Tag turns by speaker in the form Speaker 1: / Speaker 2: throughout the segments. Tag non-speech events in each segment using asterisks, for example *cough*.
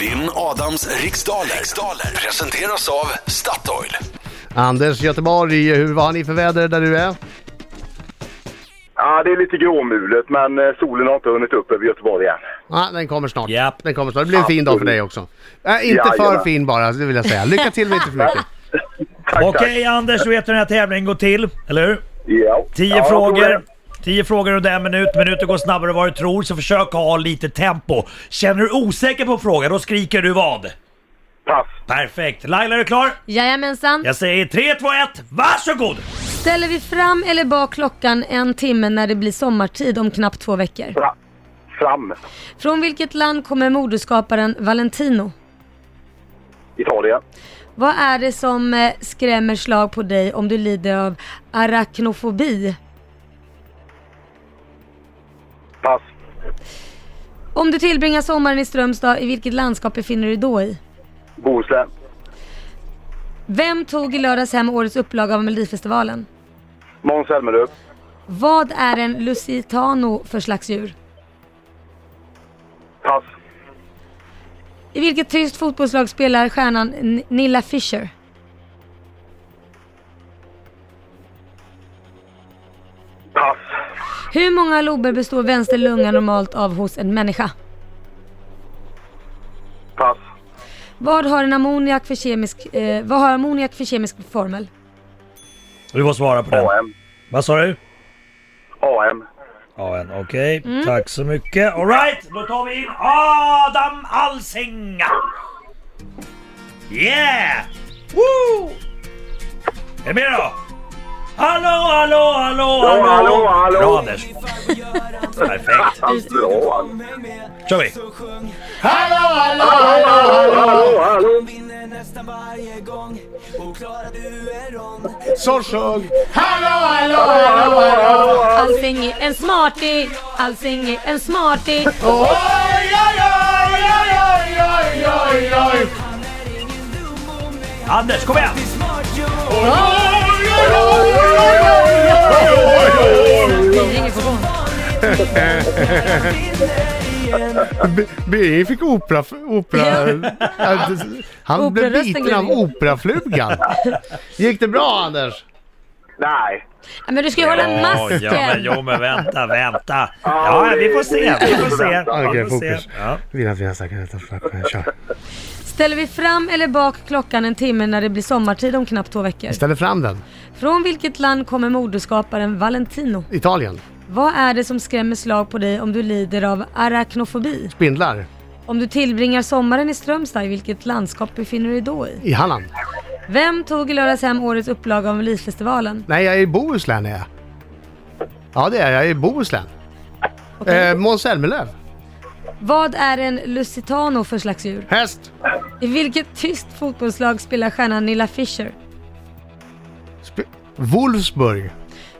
Speaker 1: Vinn Adams riksdaler. riksdaler presenteras av Statoil.
Speaker 2: Anders Göteborg, hur, vad har ni för väder där du är?
Speaker 3: Ja, det är lite gråmulet, men eh, solen har inte hunnit upp över Göteborg än.
Speaker 2: Ah, den kommer snart.
Speaker 4: Japp.
Speaker 2: Den kommer snart. Det blir en fin dag för dig också. Äh, inte för
Speaker 3: Jajamän.
Speaker 2: fin bara, det vill jag säga. Lycka till med inte för mycket.
Speaker 3: Tack,
Speaker 4: Okej
Speaker 3: tack.
Speaker 4: Anders, du vet hur den här tävlingen går till, eller hur?
Speaker 3: Ja.
Speaker 4: Tio
Speaker 3: Ja, jag
Speaker 4: frågor.
Speaker 3: tror
Speaker 4: Tio frågor under en minut. Minuter går snabbare än vad du tror, så försök ha lite tempo. Känner du osäker på en fråga, då skriker du vad?
Speaker 3: det. Pass.
Speaker 4: Perfekt. Laila, är du klar?
Speaker 5: Jajamensan.
Speaker 4: Jag säger 3, 2, 1, varsågod!
Speaker 5: Ställer vi fram eller bak klockan en timme när det blir sommartid om knappt två veckor?
Speaker 3: Fra- fram.
Speaker 5: Från vilket land kommer modeskaparen Valentino?
Speaker 3: Italien.
Speaker 5: Vad är det som eh, skrämmer slag på dig om du lider av arachnofobi?
Speaker 3: Pass.
Speaker 5: Om du tillbringar sommaren i Strömstad, i vilket landskap befinner du dig då i?
Speaker 3: Bohuslän.
Speaker 5: Vem tog i lördags hem årets upplaga av Melodifestivalen?
Speaker 3: Måns Zelmerlöw.
Speaker 5: Vad är en lusitano för slags djur?
Speaker 3: Pass.
Speaker 5: I vilket tyst fotbollslag spelar stjärnan N- Nilla Fischer?
Speaker 3: Pass.
Speaker 5: Hur många lober består vänster lunga normalt av hos en människa?
Speaker 3: Pass.
Speaker 5: Vad har en ammoniak för kemisk, eh, vad har ammoniak för kemisk formel?
Speaker 4: Du får svara på den.
Speaker 3: AM.
Speaker 4: Vad sa du?
Speaker 3: AM.
Speaker 4: Ja, en. Okej, tack så mycket. Alright, då tar vi in Adam Alsing! Yeah! Woo! Är det mer då? Hallå, hallå, hallå, hallå!
Speaker 3: hallå, hallå.
Speaker 4: Bra Anders! Perfekt,
Speaker 3: Allt bra.
Speaker 4: kör vi!
Speaker 3: Hallå, hallå.
Speaker 2: Så sjöng!
Speaker 5: Allsing är en smartie, Allsing är en smartie.
Speaker 4: Anders, kom igen!
Speaker 5: Det är inget på gång.
Speaker 2: Birger fick opera... opera Ja, det- *laughs* han blev
Speaker 5: Operarösten
Speaker 2: biten
Speaker 5: går
Speaker 2: av
Speaker 5: in.
Speaker 2: operaflugan. Gick det bra Anders?
Speaker 3: Nej.
Speaker 5: Ja, Men du ska ju hålla masken.
Speaker 4: ja, men, jo, men vänta, vänta. Ja,
Speaker 3: det-
Speaker 4: vi får se, vi får se. Ja,
Speaker 2: Okej,
Speaker 4: vi får se.
Speaker 2: fokus.
Speaker 4: Ja.
Speaker 2: Mina fina stackare, ta fram- kör.
Speaker 5: Ställer vi fram eller bak klockan en timme när det blir sommartid om knappt två veckor?
Speaker 2: Ställer fram den.
Speaker 5: Från vilket land kommer modeskaparen Valentino?
Speaker 2: Italien.
Speaker 5: Vad är det som skrämmer slag på dig om du lider av arachnofobi?
Speaker 2: Spindlar.
Speaker 5: Om du tillbringar sommaren i Strömstad, i vilket landskap befinner du dig då i?
Speaker 2: I Halland.
Speaker 5: Vem tog i lördags hem årets upplaga av Melodifestivalen?
Speaker 2: Nej, jag är i Bohuslän är jag. Ja, det är jag. Jag är i Bohuslän.
Speaker 5: Okej.
Speaker 2: Eh, Måns Zelmerlöw.
Speaker 5: Vad är en lusitano för slags djur?
Speaker 2: Häst.
Speaker 5: I vilket tyst fotbollslag spelar stjärnan Nilla Fischer?
Speaker 2: Sp- Wolfsburg.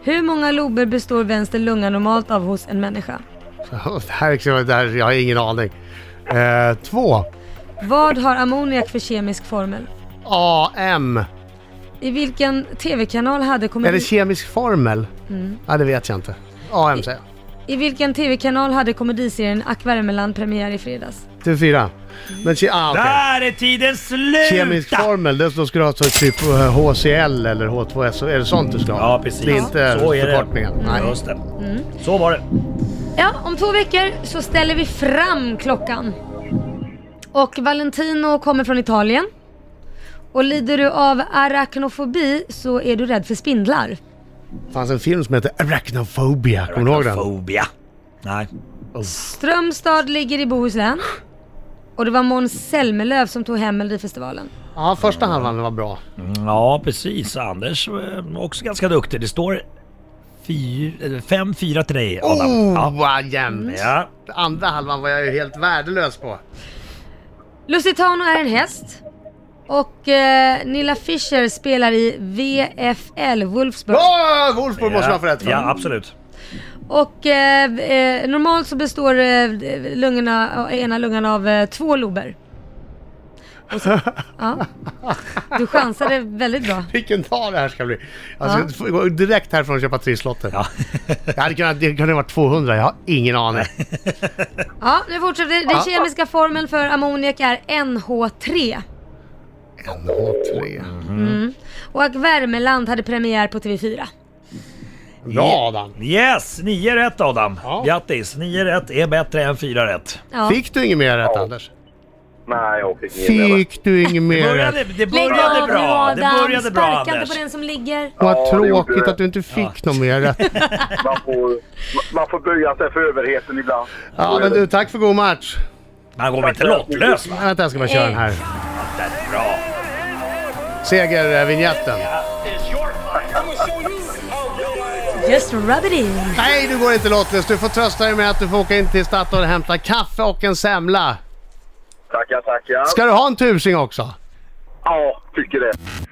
Speaker 5: Hur många lober består vänster lunga normalt av hos en människa?
Speaker 2: *laughs* Det här, är- liksom- det här, jag har ingen aning. Eh, två.
Speaker 5: Vad har ammoniak för kemisk formel?
Speaker 2: AM.
Speaker 5: I vilken TV-kanal hade
Speaker 2: Är det
Speaker 5: komedi-
Speaker 2: kemisk formel? Ja, det vet jag inte. AM säger jag.
Speaker 5: I vilken TV-kanal hade komediserien Ack Värmeland premiär i fredags?
Speaker 2: TV4. Men ke- ah, okej.
Speaker 4: Där är tiden slut!
Speaker 2: Kemisk formel, det då ska du ha så typ eh, HCl eller H2S. Är det sånt du ska ha?
Speaker 4: Ja, precis.
Speaker 2: Det är inte
Speaker 4: Så är det. Mm.
Speaker 2: förkortningen. Nej.
Speaker 4: Just det. Så var det.
Speaker 5: Ja, om två veckor så ställer vi fram klockan. Och Valentino kommer från Italien. Och lider du av arachnofobi så är du rädd för spindlar.
Speaker 2: Det fanns en film som heter Arachnophobia. Kommer du ihåg den?
Speaker 4: Fobia. Nej.
Speaker 5: Strömstad ligger i Bohuslän. Och det var Måns Zelmerlöw som tog hem Melodifestivalen.
Speaker 2: Ja, första halvan var bra.
Speaker 4: Mm, Ja, precis. Anders eh, också ganska duktig. Det står fyr- eller 5-4 till dig, Adam.
Speaker 2: Oh,
Speaker 4: Ja.
Speaker 2: vad jämnt!
Speaker 4: Ja.
Speaker 2: Andra halvan var jag ju helt värdelös på.
Speaker 5: Lusitano är en häst. Och eh, Nilla Fischer spelar i VFL Wolfsburg.
Speaker 2: Åh, Wolfsburg måste man få rätt för.
Speaker 4: Ja, absolut.
Speaker 5: Och eh, eh, normalt så består eh, lungorna, ena lungan av eh, två lober. eh, Och så, ja. Du chansade väldigt bra.
Speaker 2: Vilken dag det här ska bli. Alltså, Jag ska gå direkt härifrån och köpa trisslotter.
Speaker 4: Ja.
Speaker 2: Jag hade kunnat, *laughs* det kunde ha varit 200, jag har ingen aning.
Speaker 5: Ja, nu fortsätter vi. Den kemiska formeln för ammoniak är NH3.
Speaker 2: NH3.
Speaker 5: Och att Värmeland hade premiär på TV4.
Speaker 2: Bra Adam.
Speaker 4: Yes! 9 rätt Adam.
Speaker 2: Ja.
Speaker 4: Grattis! 9 rätt är bättre än 4 rätt.
Speaker 5: Ja.
Speaker 2: Fick du inget mer rätt Anders?
Speaker 3: Nej, jag fick ingen med.
Speaker 2: Fick du inget
Speaker 4: Det
Speaker 2: mer
Speaker 4: började,
Speaker 2: rätt?
Speaker 4: det
Speaker 5: Lägg
Speaker 4: började
Speaker 5: av nu
Speaker 4: bra. Det
Speaker 5: Adam!
Speaker 4: började bra
Speaker 5: Sparka
Speaker 4: Anders.
Speaker 5: inte på den som ligger.
Speaker 2: Vad
Speaker 3: Ja, det gjorde
Speaker 2: tråkigt
Speaker 3: det.
Speaker 2: att du inte fick något mer rätt.
Speaker 3: Man får, man får böja sig för överheten ibland.
Speaker 2: Ja,
Speaker 3: Så är
Speaker 2: men
Speaker 3: det.
Speaker 2: du, tack för god match.
Speaker 4: Man går väl inte lottlös va?
Speaker 2: Nej, Vänta, jag ska bara köra den här.
Speaker 4: Bra.
Speaker 2: Segervinjetten.
Speaker 5: Just rub it in.
Speaker 2: Nej, du går inte lottlös. Du får trösta dig med att du får åka in till Statoil och hämta kaffe och en semla.
Speaker 3: Tackar, tackar.
Speaker 2: Ska du ha en tusing också?
Speaker 3: Ja, tycker det.